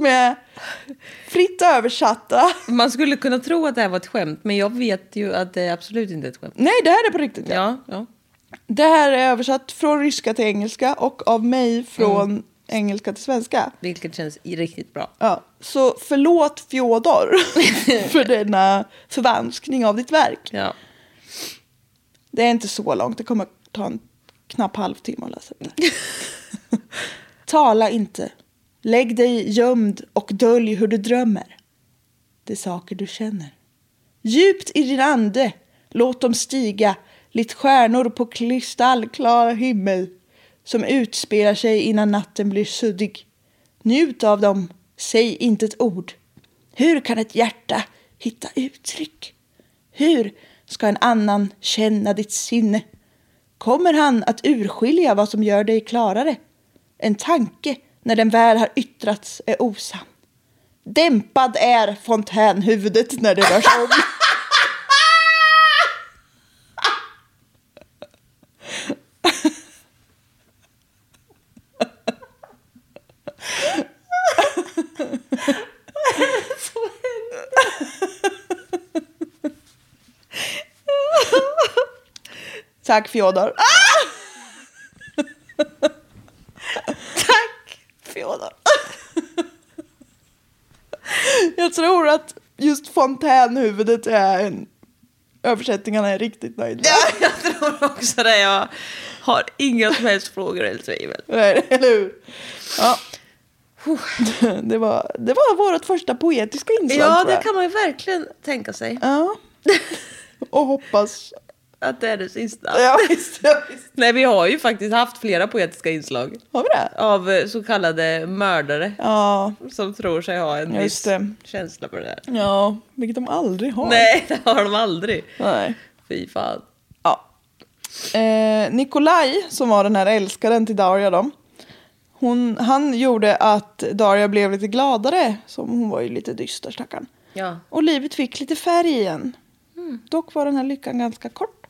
B: Med fritt översatta.
C: Man skulle kunna tro att det här var ett skämt, men jag vet ju att det är absolut inte ett skämt.
B: Nej, det här är på riktigt.
C: Ja, ja.
B: Det här är översatt från ryska till engelska och av mig från engelska till svenska.
C: Vilket känns i- riktigt bra.
B: Ja. Så förlåt Fjodor för denna förvanskning av ditt verk.
C: Ja.
B: Det är inte så långt, det kommer ta en knapp halvtimme att läsa det. Tala inte. Lägg dig gömd och dölj hur du drömmer. Det saker du känner. Djupt i din ande, låt dem stiga, likt stjärnor på kristallklar himmel, som utspelar sig innan natten blir suddig. Njut av dem, säg inte ett ord. Hur kan ett hjärta hitta uttryck? Hur ska en annan känna ditt sinne? Kommer han att urskilja vad som gör dig klarare? En tanke, när den väl har yttrats, är osann. Dämpad är fontänhuvudet när det rör sig om. Tack Fjodor. Ah! Tack Fjodor. Jag tror att just fontänhuvudet är en... Översättningarna är riktigt nöjda.
C: Jag tror också det. Jag Har inga som helst frågor eller tvivel.
B: Nej, eller hur? Ja. Det var, det var vårt första poetiska inslag
C: Ja,
B: tror
C: det
B: jag.
C: kan man ju verkligen tänka sig.
B: Ja. Och hoppas.
C: Att det är det sista.
B: Ja, visst, ja, visst.
C: Nej, vi har ju faktiskt haft flera poetiska inslag.
B: Har vi det?
C: Av eh, så kallade mördare.
B: Ja,
C: Som tror sig ha en
B: Just
C: viss
B: det.
C: känsla på det där.
B: ja vilket de aldrig har.
C: Nej, det har de aldrig.
B: Nej.
C: Fy fan.
B: Ja. Eh, Nikolaj, som var den här älskaren till Daria då. Hon, han gjorde att Daria blev lite gladare, som hon var ju lite dyster stackarn.
C: Ja. Mm.
B: Och livet fick lite färg igen. Dock var den här lyckan ganska kort.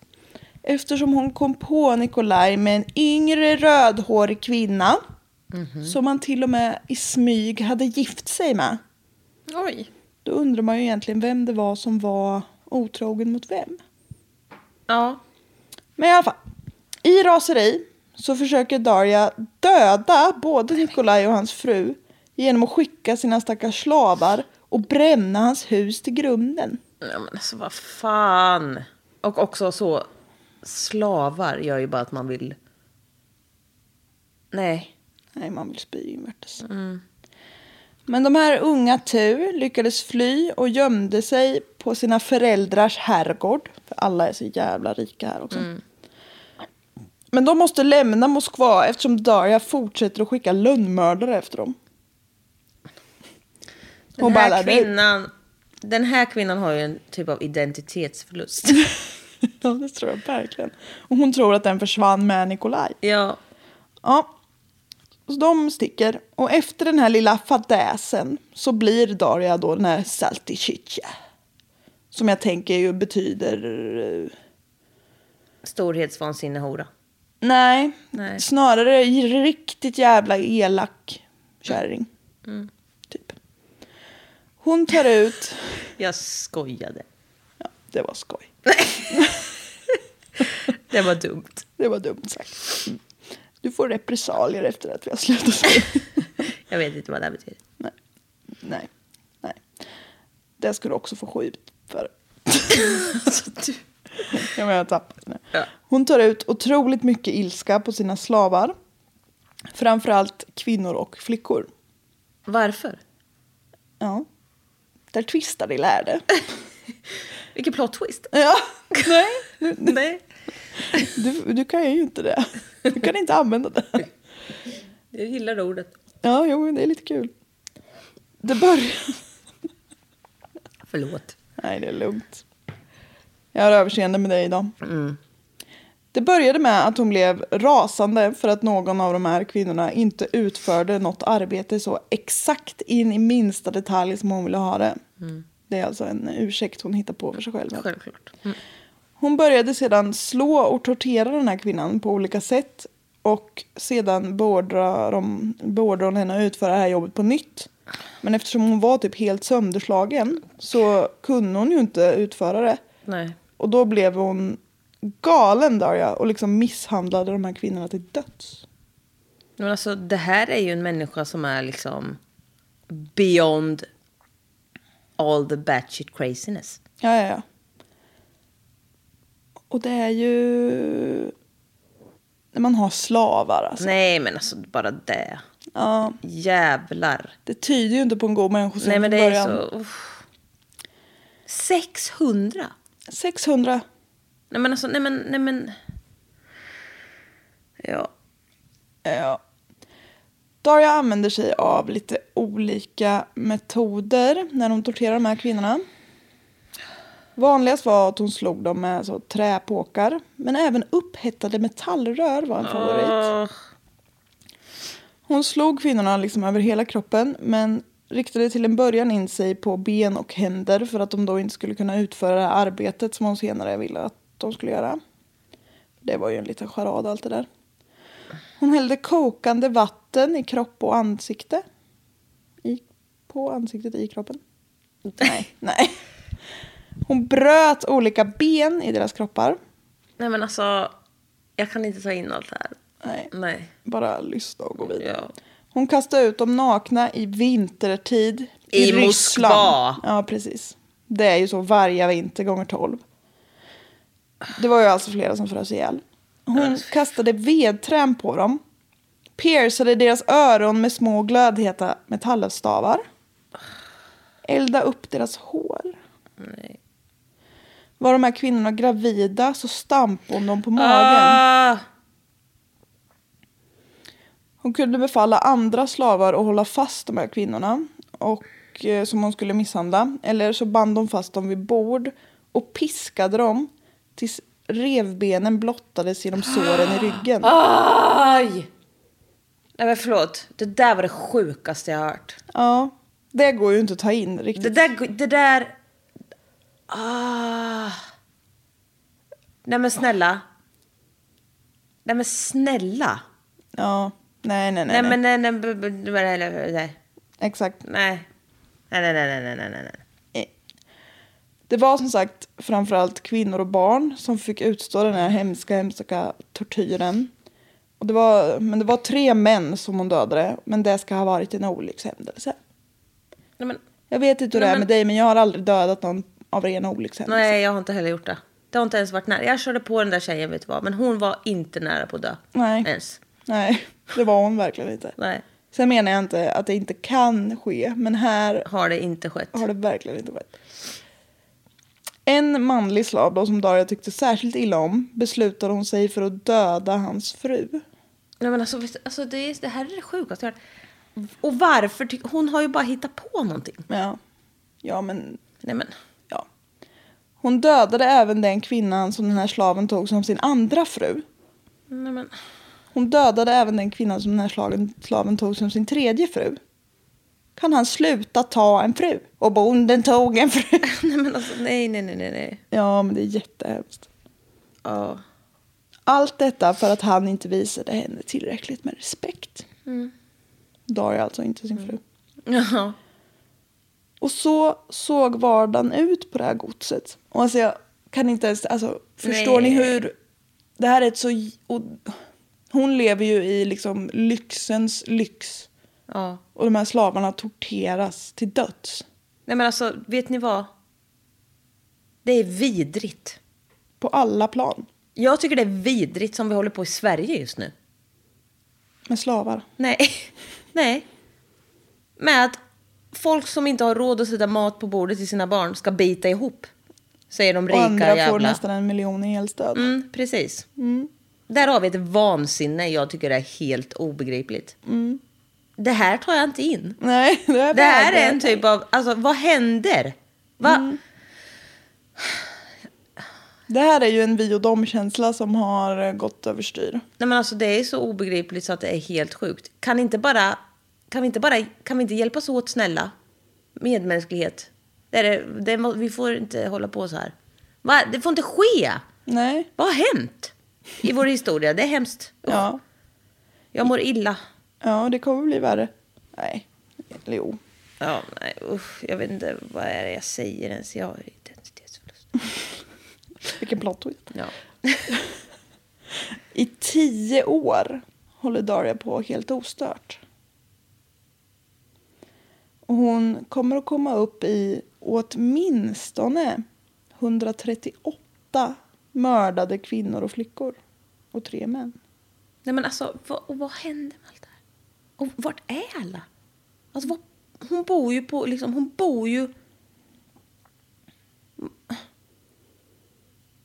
B: Eftersom hon kom på Nikolaj med en yngre rödhårig kvinna.
C: Mhm.
B: Som han till och med i smyg hade gift sig med.
C: Oj.
B: Då undrar man ju egentligen vem det var som var otrogen mot vem.
C: Ja.
B: Men i alla fall. I raseri så försöker Darja döda både Nikolaj och hans fru genom att skicka sina stackars slavar och bränna hans hus till grunden.
C: Ja, men alltså vad fan. Och också så slavar gör ju bara att man vill. Nej.
B: Nej, man vill spy invärtes.
C: Mm.
B: Men de här unga tur lyckades fly och gömde sig på sina föräldrars herrgård. För alla är så jävla rika här också.
C: Mm.
B: Men de måste lämna Moskva eftersom Darja fortsätter att skicka lönnmördare efter dem.
C: Den
B: Hon
C: här
B: bara, "Nej."
C: kvinnan. Den här kvinnan har ju en typ av identitetsförlust.
B: Ja, det tror jag verkligen. Och hon tror att den försvann med Nikolaj.
C: ja.
B: Ja. Så de sticker. Och efter den här lilla fadäsen så blir Daria då den här saltichicha. Som jag tänker ju betyder... eh,
C: Storhetsvansinnehora.
B: Nej,
C: Nej.
B: snarare riktigt jävla elak kärring. Typ. Hon tar ut...
C: Jag skojade.
B: Ja, det var skoj.
C: Det var dumt.
B: Det var dumt sagt. Mm. Du får repressalier efter att vi har slutat spela.
C: Jag vet inte vad det här betyder.
B: Nej. Nej. Nej. Det ska du också få skjut för.
C: Alltså, du...
B: Jag menar, jag har tappat nu.
C: Ja.
B: Hon tar ut otroligt mycket ilska på sina slavar. Framförallt kvinnor och flickor.
C: Varför?
B: Ja. Där twistar de lärde.
C: Vilken plot twist.
B: Ja.
C: Nej. Nej.
B: Du, du kan ju inte det. Du kan inte använda det.
C: Jag gillar det ordet.
B: Ja, jo, men det är lite kul. Det börjar...
C: Förlåt.
B: Nej, det är lugnt. Jag har överseende med dig idag. Det började med att hon blev rasande för att någon av de här kvinnorna inte utförde något arbete så exakt in i minsta detalj som hon ville ha det. Det är alltså en ursäkt hon hittar på för sig själv.
C: Självklart.
B: Hon började sedan slå och tortera den här kvinnan på olika sätt och sedan beordrar de- beordrar hon henne att utföra det här jobbet på nytt. Men eftersom hon var typ helt sönderslagen så kunde hon ju inte utföra det.
C: Nej.
B: Och då blev hon galen Darja och liksom misshandlade de här kvinnorna till döds.
C: Men alltså, det här är ju en människa som är liksom beyond all the batshit craziness.
B: Ja, ja, ja. Och det är ju... När man har slavar alltså.
C: Nej, men alltså bara det.
B: Ja,
C: Jävlar.
B: det tyder ju inte på en god människosyn
C: Nej, men det
B: från
C: är
B: början.
C: så... uff. 600?
B: 600.
C: Nej, men alltså, nej, men, nej, men... Ja.
B: Eh, Ja. Daria använder sig av lite olika metoder när hon torterar de här kvinnorna. Vanligast var att hon slog dem med så träpåkar, men även upphettade metallrör var en favorit.
C: Åh,
B: Hon slog kvinnorna liksom över hela kroppen, men riktade till en början in sig på ben och händer för att de då inte skulle kunna utföra det här arbetet som hon senare ville att de skulle göra. Det var ju en liten charad allt det där. Hon hällde kokande vatten i kropp och ansikte. I, på ansiktet, i kroppen. Nej, nej. Hon bröt olika ben i deras kroppar.
C: nej, men alltså... Jag kan inte ta in allt det här.
B: Nej,
C: Nej.
B: bara lyssna och gå vidare.
C: Ja.
B: Hon kastade ut dem nakna i vintertid.
C: I Moskva.
B: Ryssland. Ja, precis. Det är ju så varje vinter gånger tolv. Det var ju alltså flera som frös ihjäl. Hon kastade vedträn på dem. Piercade deras öron med små glödheta metallstavar. Elda upp deras hår. Var de här kvinnorna gravida så stampade hon dem på magen.
C: Ah,
B: Hon kunde befalla andra slavar att hålla fast de här kvinnorna och, eh, som hon skulle misshandla. Eller så band hon fast dem vid bord och piskade dem tills revbenen blottades genom såren i ryggen.
C: aj! Nej men förlåt, det där var det sjukaste jag har hört.
B: Ja, det går ju inte att ta in
C: Det
B: riktigt.
C: där... Det där... Ah. Nej men snälla. Nej men snälla.
B: Ja, nej, nej, nej.
C: Nej,
B: nej,
C: men nej, nej, nej, nej, nej, nej, nej,
B: Exakt.
C: nej, nej, nej, nej, nej, nej, nej, nej.
B: Det var som sagt framförallt kvinnor och barn som fick utstå den här hemska, hemska tortyren. Och det var, men det var tre män som hon dödade, men det ska ha varit en olyckshändelse.
C: Nej, men,
B: Jag vet inte hur det
C: Nej,
B: är
C: men-
B: med dig, men jag har aldrig dödat någon av rena olyckshändelser.
C: nej, jag har inte heller gjort det. Det har inte ens varit nära. Jag körde på den där tjejen, vet du vad, men hon var inte nära på att dö.
B: Nej.
C: Ens.
B: Nej, det var hon verkligen inte.
C: Nej,
B: Sen menar jag inte att det inte kan ske, men här
C: har det inte skett.
B: har det verkligen inte skett. En manlig slav då, som Daria tyckte särskilt illa om beslutade hon sig för att döda hans fru.
C: Nej, men alltså, vet, du, alltså det, är- det här är det sjukaste jag har hört. Och varför? tyck- Hon har ju bara hittat på någonting.
B: Ja, ja men
C: Nej, men.
B: ja. Hon dödade även den kvinnan som den här slaven tog som sin andra fru.
C: Nej, men.
B: Hon dödade även den kvinnan som den här slagen, slaven tog som sin tredje fru. Kan han sluta ta en fru? Och bonden tog en fru.
C: Nej, men alltså, nej, nej, nej, nej, nej.
B: ja, men det är jättehemskt.
C: Ja.
B: Allt detta för att han inte visade henne tillräckligt med respekt.
C: Mm.
B: Daria alltså inte sin fru.
C: Ja.
B: Och så såg vardagen ut på det här godset. Och alltså jag kan inte ens, alltså förstår
C: Nej.
B: ni hur, det här är ett så, och, hon lever ju i liksom lyxens lyx.
C: ja.
B: Och de här slavarna torteras till döds.
C: Nej, men alltså, vet ni vad? Det är vidrigt.
B: På alla plan.
C: Jag tycker det är vidrigt som vi håller på i Sverige just nu.
B: Med slavar.
C: Nej. Nej. Med att folk som inte har råd att sätta mat på bordet till sina barn ska bita ihop. Säger de
B: Och
C: rika
B: andra
C: jävla.
B: får nästan en miljon i elstöd.
C: Mm, precis. Där har vi ett vansinne jag tycker är helt obegripligt.
B: Mm.
C: Det här tar jag inte in.
B: Nej, det, är
C: Det här
B: bara-
C: är en typ av... Alltså, vad händer? Va?
B: det här är ju en vi och dem-känsla som har eh, gått överstyr.
C: Nej, men alltså, det är så obegripligt så att det är helt sjukt. Kan, inte bara, kan, vi, inte bara, kan vi inte hjälpas åt, snälla? Medmänsklighet. Det är, det- det, må- vi får inte hålla på så här. Va? Det får inte ske!
B: Nej,
C: Vad har hänt i vår historia? Det är hemskt.
B: ja.
C: Jag mår illa.
B: Ja, det kommer bli värre. Nej, eller jo.
C: Ja, nej, usch, jag vet inte vad är det jag säger ens. Jag har identitetsförlust.
B: Vilken plot twist.
C: Ja.
B: I tio år håller Daria på helt ostört. Och hon kommer att komma upp i åtminstone 138 mördade kvinnor och flickor. Och tre män.
C: Nej, men alltså, vad, och vad händer med allt det här? Och vart är alla? Alltså, vad, hon bor ju på, liksom, hon bor ju...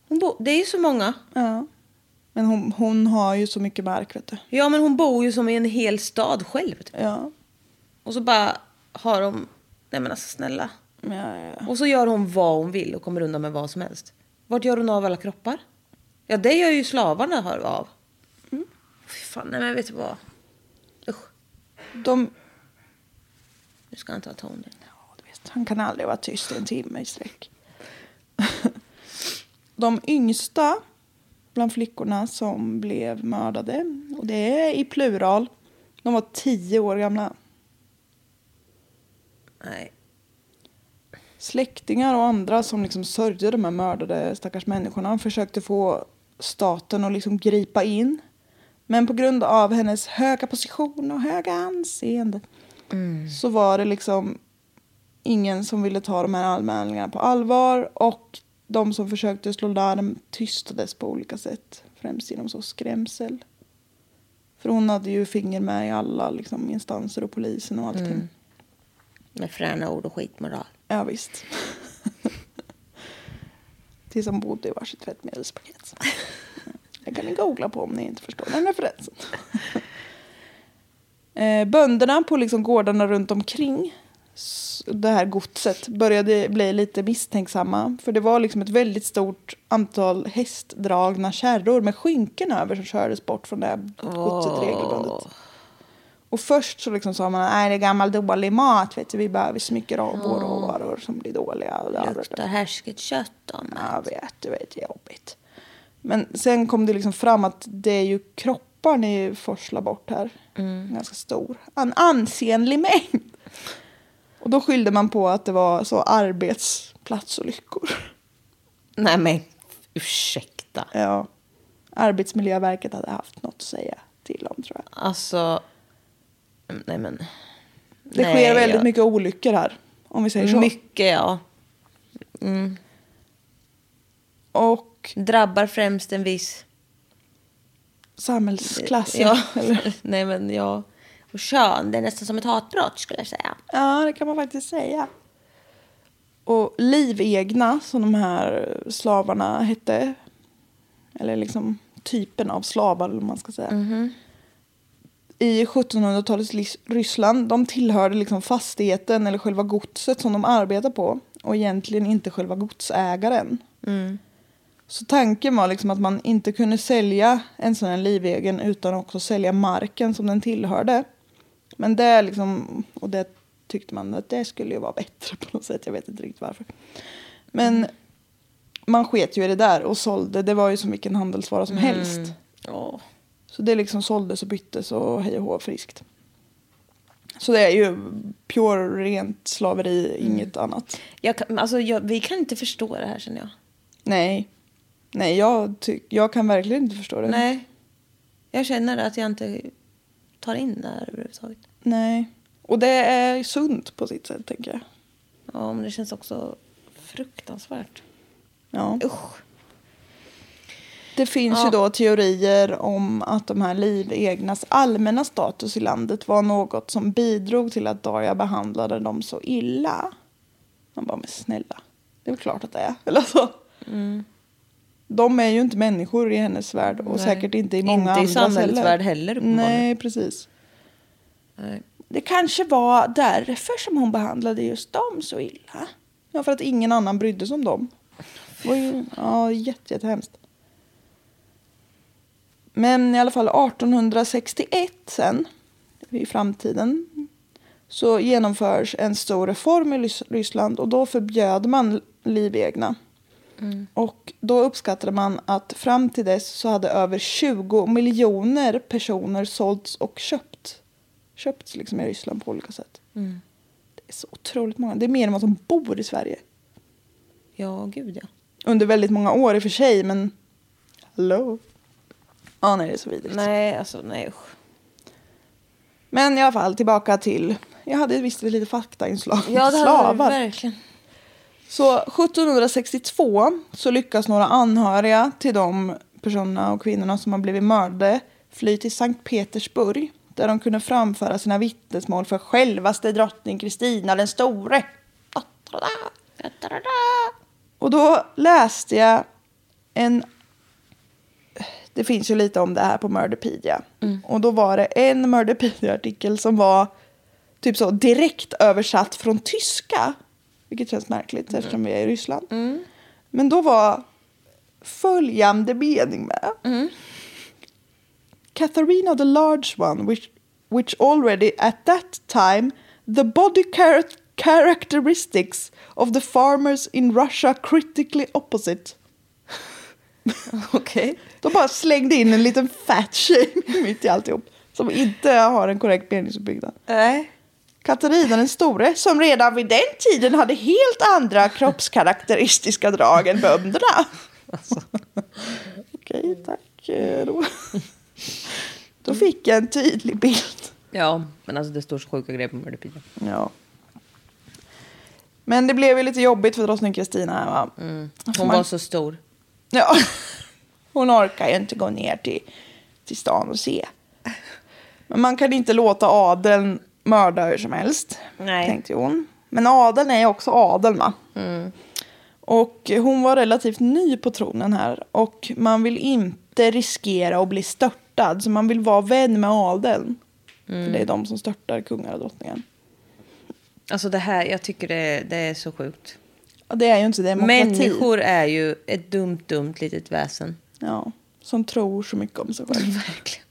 C: Hon bor, det är ju så många.
B: Ja. Men hon, hon har ju så mycket mark, vet du.
C: Ja, men hon bor ju som i en hel stad själv. typ.
B: Ja.
C: Och så bara har de... Nej, men alltså snälla.
B: Ja, ja, ja.
C: Och så gör hon vad hon vill och kommer undan med vad som helst. Vart gör hon av alla kroppar? Ja, det gör ju slavarna har- av. Fy fan, nej men vet du vad? Usch,
B: De...
C: nu ska jag inte ha ton där.
B: Ja, du vet, han kan aldrig vara tyst i en timme i sträck. De yngsta bland flickorna som blev mördade, och det är i plural, de var tio år gamla.
C: Nej.
B: Släktingar och andra som liksom sörjde de här mördade stackars människorna försökte få staten att liksom gripa in. Men på grund av hennes höga position och höga anseende så var det liksom ingen som ville ta de här anmälningarna på allvar och de som försökte slå larm tystades på olika sätt, främst genom så skrämsel. För hon hade ju finger med i alla liksom, instanser och polisen och allting.
E: Med fräna ord och skitmoral.
B: Ja, visst. Tills de bodde i varsitt tvättmedelspaket. Det kan ni googla på om ni inte förstår den referensen. Eh, Bönderna på liksom gårdarna runt omkring s- det här godset började bli lite misstänksamma. För det var liksom ett väldigt stort antal hästdragna kärror med skynken över som kördes bort från det här godset regelbundet. Och först så liksom sa man att det är gammal dålig mat, vet du, vi behöver så mycket av våra råvaror som blir dåliga.
E: Luktar härsket kött om det.
B: Jag vet, du vet, det är jobbigt. Men sen kom det liksom fram att det är ju kroppar ni forslar bort här.
C: Mm.
B: Ganska stor. En ansenlig mängd. Och då skyllde man på att det var så arbetsplatsolyckor.
C: Nej men ursäkta.
B: Ja. Arbetsmiljöverket hade haft något att säga till om tror jag.
C: Alltså. Nej men.
B: Det
C: Nej,
B: sker väldigt
C: jag-
B: mycket olyckor här. Om vi säger så.
C: Mycket ja. Mm.
B: Och
C: Drabbar främst en viss.
B: samhällsklass.
C: Ja.
B: Eller?
C: Nej men ja.
E: Och kön, det är nästan som ett hatbrott skulle jag säga.
B: Ja, det kan man faktiskt säga. Och livegna, som de här slavarna hette, eller liksom typen av slavar, eller vad man ska säga. I 1700-talets Lys- Ryssland, de tillhörde liksom fastigheten eller själva godset som de arbetar på och egentligen inte själva godsägaren. Så tanken var liksom att man inte kunde sälja en sån här livegen utan också sälja marken som den tillhörde. Men det är liksom, och det tyckte man att det skulle ju vara bättre på något sätt. Jag vet inte riktigt varför. Men man sket ju i det där och sålde. Det var ju som vilken handelsvara som helst.
C: Mm. Ja.
B: Så det liksom såldes och byttes och hej och hå friskt. Så det är ju pure rent slaveri,
C: Mm.
B: inget annat.
C: Jag kan, alltså, jag, vi kan inte förstå det här känner jag.
B: Nej, nej jag, ty- jag kan verkligen inte förstå det.
C: Nej. Jag känner att jag inte tar in det här överhuvudtaget.
B: nej. Och det är sunt på sitt sätt tänker jag.
C: Ja, men det känns också fruktansvärt.
B: Ja.
C: Usch.
B: Det finns ju då teorier om att de här livegnas allmänna status i landet var något som bidrog till att Darja behandlade dem så illa. Man bara, men snälla, det är väl klart att det är. Eller så. De är ju inte människor i hennes värld och
C: Mm. Nej.
B: säkert inte i
C: Inte
B: många
C: i
B: andras
C: samhällets värld heller, uppenbarligen.
B: Nej, precis.
C: Nej.
B: Det kanske var därför som hon behandlade just dem så illa. Ja, för att ingen annan brydde sig om dem. Det var ju, ja, jätte, jättehemskt. Men i alla fall 1861 sen, i framtiden, så genomförs en stor reform i Lys- Ryssland och då förbjöd man livegna. Och då uppskattade man att fram till dess så hade över 20 miljoner personer sålts och köpt. Köpts liksom i Ryssland på olika sätt.
C: Mm.
B: Det är så otroligt många. Det är mer än vad som bor i Sverige.
C: Ja, gud ja.
B: Under väldigt många år i och för sig, men... Hallå? Ja, nej, det är så vidrigt.
C: Nej, alltså nej usch.
B: Men i alla fall, tillbaka till... Jag hade visst lite faktainslag om
C: Ja, det hade
B: slavar.
C: du verkligen.
B: Så 1762 så lyckas några anhöriga till de personerna och kvinnorna som har blivit mördade fly till Sankt Petersburg där de kunde framföra sina vittnesmål för självaste drottning Kristina den store. Och då läste jag en... Det finns ju lite om det här på Murderpedia. Och då var det en Murderpedia-artikel som var typ så direkt översatt från tyska. Vilket känns märkligt eftersom vi är i Ryssland. Men då var följande mening med. Katharina the Large One, which, which already at that time the body char- characteristics of the farmers in Russia critically opposite.
C: Okej.
B: De bara slängde in en liten fat shaming mitt i alltihop. Som inte har en korrekt meningsuppbyggnad.
C: Nej.
B: Katarina den store, som redan vid den tiden hade helt andra kroppskaraktäristiska drag än bönderna.
C: Alltså.
B: Okej, tack eh, då. Då fick jag en tydlig bild.
C: Ja, men alltså det står så sjuka grejer på Murderpedia.
B: Ja. Men det blev ju lite jobbigt för drottning Kristina. här, Va? För
C: Mm. Hon
B: man-
C: var så stor.
B: Ja. Hon orkar ju inte gå ner till, till stan och se. Men man kan inte låta adeln mörda hur som helst,
E: Nej.
B: tänkte hon. Men adeln är ju också adeln, va?
C: Mm.
B: Och hon var relativt ny på tronen här och man vill inte riskera att bli störtad, så man vill vara vän med adeln. För
C: Mm.
B: det är de som störtar kungar och drottningar.
C: Alltså det här, jag tycker det, det är så sjukt.
B: Och det är ju inte demokrati.
C: Människor är ju ett dumt, dumt litet väsen.
B: Ja, som tror så mycket om sig själv.
C: Verkligen.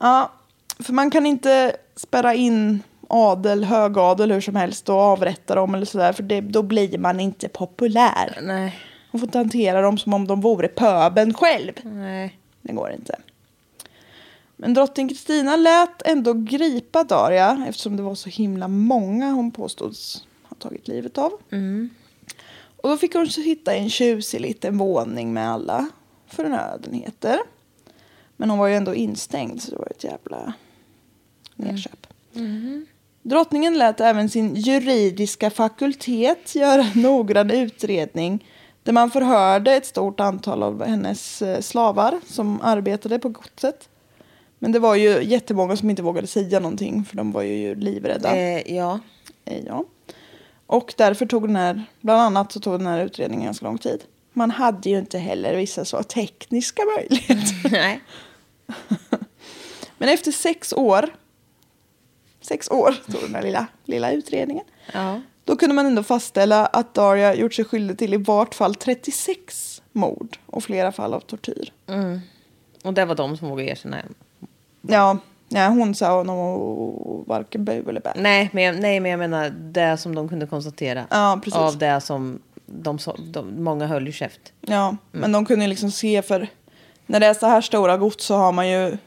B: Ja, för man kan inte spärra in adel, högadel hur som helst och avrätta dem eller sådär för det, då blir man inte populär.
C: Nej,
B: Man får inte hantera dem som om de vore pöben själv.
C: nej.
B: Det går inte. Men drottning Kristina lät ändå gripa Daria eftersom det var så himla många hon påstods ha tagit livet av. Och då fick hon sitta i en tjusig liten våning med alla förnödenheter. Men hon var ju ändå instängd så det var ett jävla nerköp. Drottningen lät även sin juridiska fakultet göra en noggrann utredning där man förhörde ett stort antal av hennes eh, slavar som arbetade på godset. Men det var ju jättemånga som inte vågade säga någonting för de var ju livrädda.
C: Eh, ja.
B: Eh, Ja. Och därför tog den här, bland annat så tog den här utredningen ganska lång tid. Man hade ju inte heller vissa så tekniska möjligheter.
C: Nej.
B: Men efter sex år, sex år tog den här lilla, lilla utredningen.
C: Ja.
B: Då kunde man ändå fastställa att Daria gjort sig skyldig till i vart fall 36 mord och flera fall av tortyr.
C: Och det var de som vågade erkänna.
B: Ja, nej, hon sa nog varken bu eller bä.
C: Nej men, jag- nej, men jag menar det som de kunde konstatera.
B: Ja, precis.
C: Av det som de, så- de, många höll i käft.
B: Ja, men de kunde ju liksom se för när det är så här stora gods så har man ju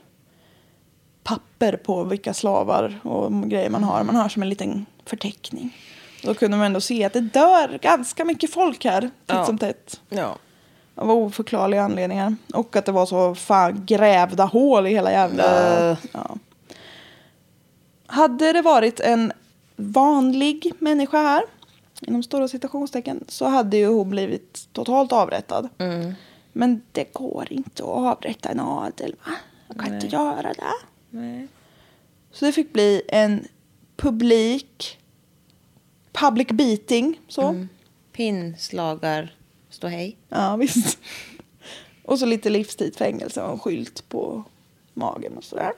B: papper på vilka slavar och grejer man har. Man har som en liten förteckning. Då kunde man ändå se att det dör ganska mycket folk här titt
C: Ja.
B: som tätt.
C: Ja.
B: Av oförklarliga anledningar. Och att det var så fan grävda hål i hela jävla...
C: Äh.
B: Ja. Hade det varit en vanlig människa här, inom stora citationstecken, så hade ju hon blivit totalt avrättad. Men det går inte att avrätta en adel, va? Man kan inte göra det. Så det fick bli en publik public beating, så.
C: Pinslagar, stå hej.
B: Ja, visst. Och så lite livstid fängelse och en skylt på magen och sådär.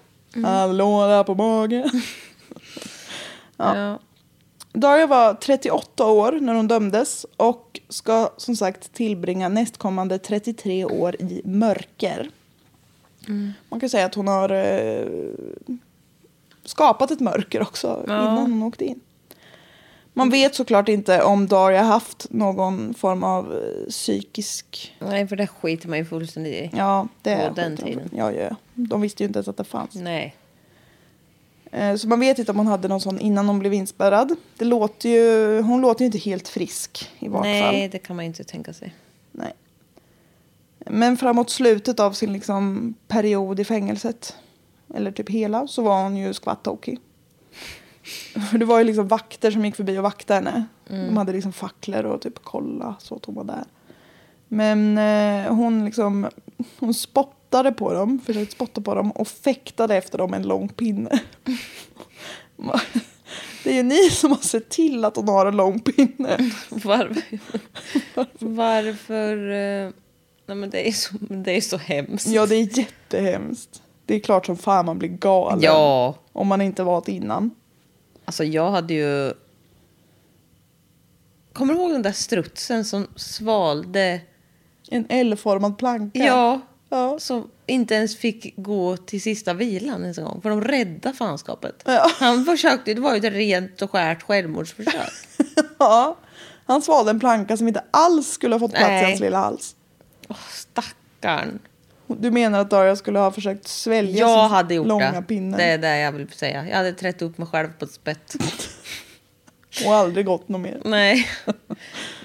B: Hallå där på magen. ja. Daria var 38 år när hon dömdes och ska som sagt tillbringa nästkommande 33 år i mörker. Man kan säga att hon har eh, skapat ett mörker också innan hon åkte in. Man vet såklart inte om Daria haft någon form av eh, psykisk...
C: Nej för det skiter man ju fullständigt i.
B: Ja, det
C: På
B: är
C: den
B: skit.
C: tiden.
B: Ja, ja, ja. De visste ju inte ens att det fanns.
C: Nej.
B: Eh, Så man vet inte om hon hade någon sån innan hon blev inspärrad. Det låter ju, hon låter ju inte helt frisk i vart
C: Nej
B: fall.
C: det kan man ju inte tänka sig.
B: Nej. Men framåt slutet av sin liksom period i fängelset, eller typ hela, så var hon ju skvattokig. För Det var ju liksom vakter som gick förbi och vaktade henne. De hade liksom facklor och typ kolla så att hon var där. Men eh, hon liksom, hon spottade på dem, försökte spotta på dem och fäktade efter dem med en lång pinne. Det är ju ni som har sett till att hon har en lång pinne.
C: Varför? Varför? eh, Nej men det är så, det är så hemskt.
B: Ja, det är jättehemskt. Det är klart som fan man blir galen.
C: Ja.
B: Om man inte varit innan.
C: Alltså jag hade ju... Kommer du ihåg den där strutsen som svalde?
B: En L-formad planka.
C: Ja.
B: Ja.
C: Som inte ens fick gå till sista vilan ens en gång. För de rädda fanskapet.
B: Ja.
C: Han försökte, det var ju ett rent och skärt självmordsförsök.
B: ja. Han svalde en planka som inte alls skulle ha fått plats
C: Nej.
B: i hans lilla hals.
C: Åh, stackarn.
B: Du menar att Daria skulle ha försökt svälja
C: Jag
B: sin
C: hade gjort
B: långa
C: det.
B: pinne
C: Det är det jag vill säga. Jag hade trätt upp mig själv på ett spett.
B: och aldrig gått något mer?
C: Nej.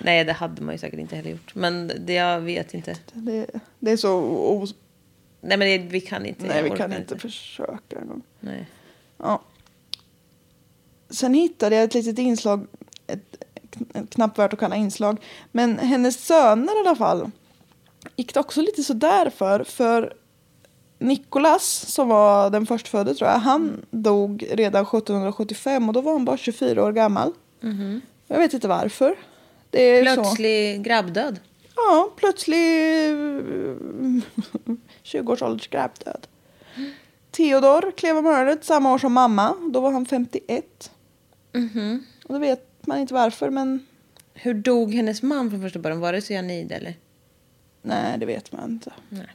C: Nej, det hade man ju säkert inte heller gjort. Men det, jag vet inte.
B: Det, det är så... Os-
C: Nej, men det, vi kan inte.
B: Nej,
C: Jag
B: vi
C: orkar
B: kan inte försöka en gång.
C: Nej.
B: Ja. Sen hittade jag ett litet inslag, ett kn- knappt värt att kalla inslag. Men hennes söner i alla fall gick det också lite sådär för. För Nikolas, som var den förstfödde tror jag, han dog redan 1775 och då var han bara 24 år gammal. Jag vet inte varför. Det är så.
C: Plötslig grabbdöd.
B: Ja, plötslig eh, 20-årsåldersgräpdöd. Theodor klev av mördet samma år som mamma. Då var han 51.
C: Mm-hmm.
B: Och då vet man inte varför, men
C: Hur dog hennes man från första början? Var det cyanid eller?
B: nej, det vet man inte.
C: Nej.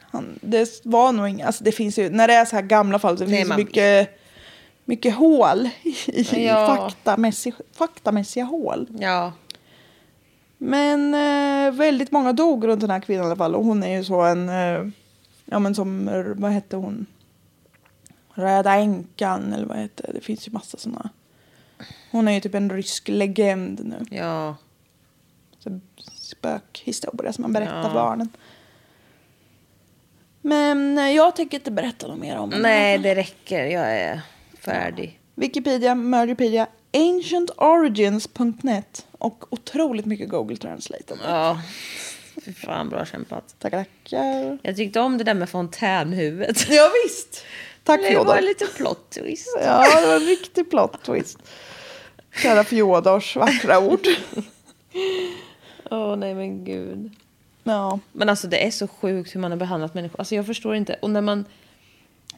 B: Han, det var nog inga, alltså det finns ju, när det är så här gamla fall så
C: Nej,
B: finns det
C: man
B: mycket, mycket hål i, i
C: Ja.
B: faktamässig, faktamässiga hål.
C: Ja.
B: Men eh, väldigt många dog runt den här kvinnan i alla fall. Och hon är ju så en... Eh, ja men som, eh, vad hette hon? Röda änkan eller vad hette det? finns ju massa såna. Hon är ju typ en rysk legend nu.
C: Ja.
B: Så spökhistoria som man berättar
C: Ja.
B: för barnen. Men eh, jag tänker inte berätta något mer om henne.
C: Nej, det räcker. Jag är färdig.
B: Wikipedia, Murderpedia, ancientorigins.net och otroligt mycket Google Translate.
C: Ja. Fy fan, bra kämpat.
B: Tackar, tackar.
C: Jag tyckte om det där med fontänhuvudet.
B: Ja, visst. Tack
C: Det var
B: Fjodor.
C: en liten plot twist.
B: Ja, det var en riktig plot twist. Kära Fjodors vackra ord.
C: Åh, nej men gud.
B: Ja.
C: Men alltså det är så sjukt hur man har behandlat människor. Alltså jag förstår inte. Och när man...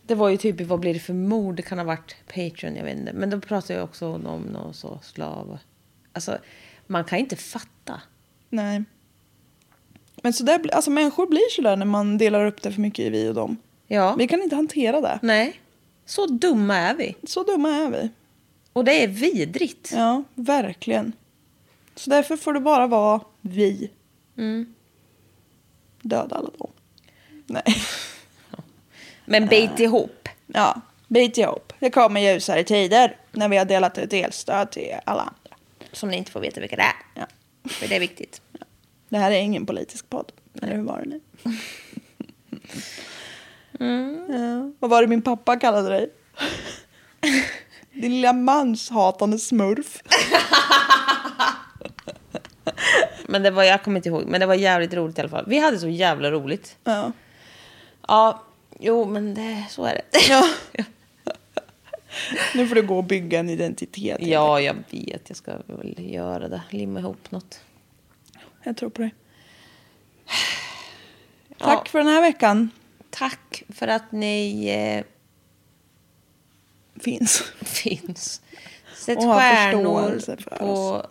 C: Det var ju typ i Vad blir det för mord? Det kan ha varit Patreon, jag vet inte. Men då pratade jag också om någon så slav. Alltså, man kan inte fatta.
B: Nej. Men så där, bli- alltså människor blir så där när man delar upp det för mycket i vi och dem.
C: Ja.
B: Vi kan inte hantera det.
C: Nej. Så dumma är vi.
B: Så dumma är vi.
C: Och det är vidrigt.
B: Ja, verkligen. Så därför får det bara vara vi. Mm. Döda alla dem. Nej.
C: Men bit ihop.
B: Ja, bit ihop. Det kommer ljusare tider när vi har delat ut elstöd till alla andra.
C: Som ni inte får veta vilka det är.
B: Ja.
C: För det är viktigt.
B: Det här är ingen politisk podd. Eller hur var det nu?
C: Mm.
B: Ja. Vad var det min pappa kallade dig? Din lilla manshatande smurf.
C: Men det var, jag kommer inte ihåg. Men det var jävligt roligt i alla fall. Vi hade så jävla roligt.
B: Ja.
C: Ja, jo men det, så är det.
B: Ja. Nu får du gå och bygga en identitet.
C: Ja, jag vet. Jag ska väl göra det. Limma ihop något.
B: Jag tror på dig. Tack för den här veckan.
C: Tack för att ni eh,
B: Finns.
C: finns. Sätt
B: Och har
C: stjärnor
B: förståelse för
C: på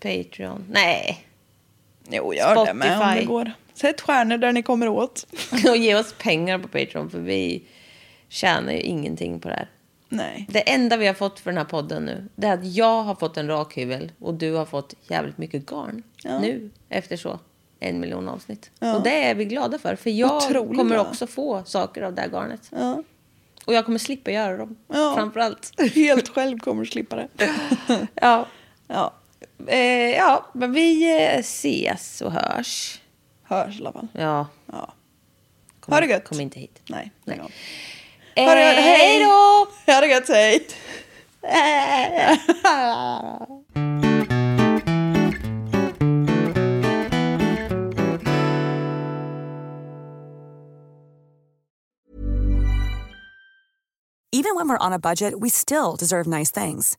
C: Patreon. Nej,
B: Jo, gör det med om det
C: Spotify.
B: går. Sätt stjärnor där ni kommer åt.
C: och ge oss pengar på Patreon för vi tjänar ju ingenting på det här.
B: Nej.
C: Det enda vi har fått för den här podden nu det är att jag har fått en rakhyvel och du har fått jävligt mycket garn
B: Ja.
C: nu efter så en miljon avsnitt.
B: Ja.
C: Och det är vi glada för, för jag
B: Otroligt
C: kommer
B: bra.
C: också få saker av det här garnet.
B: Ja.
C: Och jag kommer slippa göra dem,
B: Ja.
C: framförallt.
B: Helt själv kommer du slippa det.
C: Ja.
B: Ja.
C: Eh, ja, men vi eh, ses och hörs.
B: Hörs i alla fall.
C: Ja.
B: Ja.
C: Kom,
B: Ha det gött.
C: Kom inte hit.
B: Nej.
C: Nej.
B: Nej.
C: Eh,
B: Ha det gött.
C: hej då!
B: Ha det gött, hej!
F: even when we're on a budget, we still deserve nice things.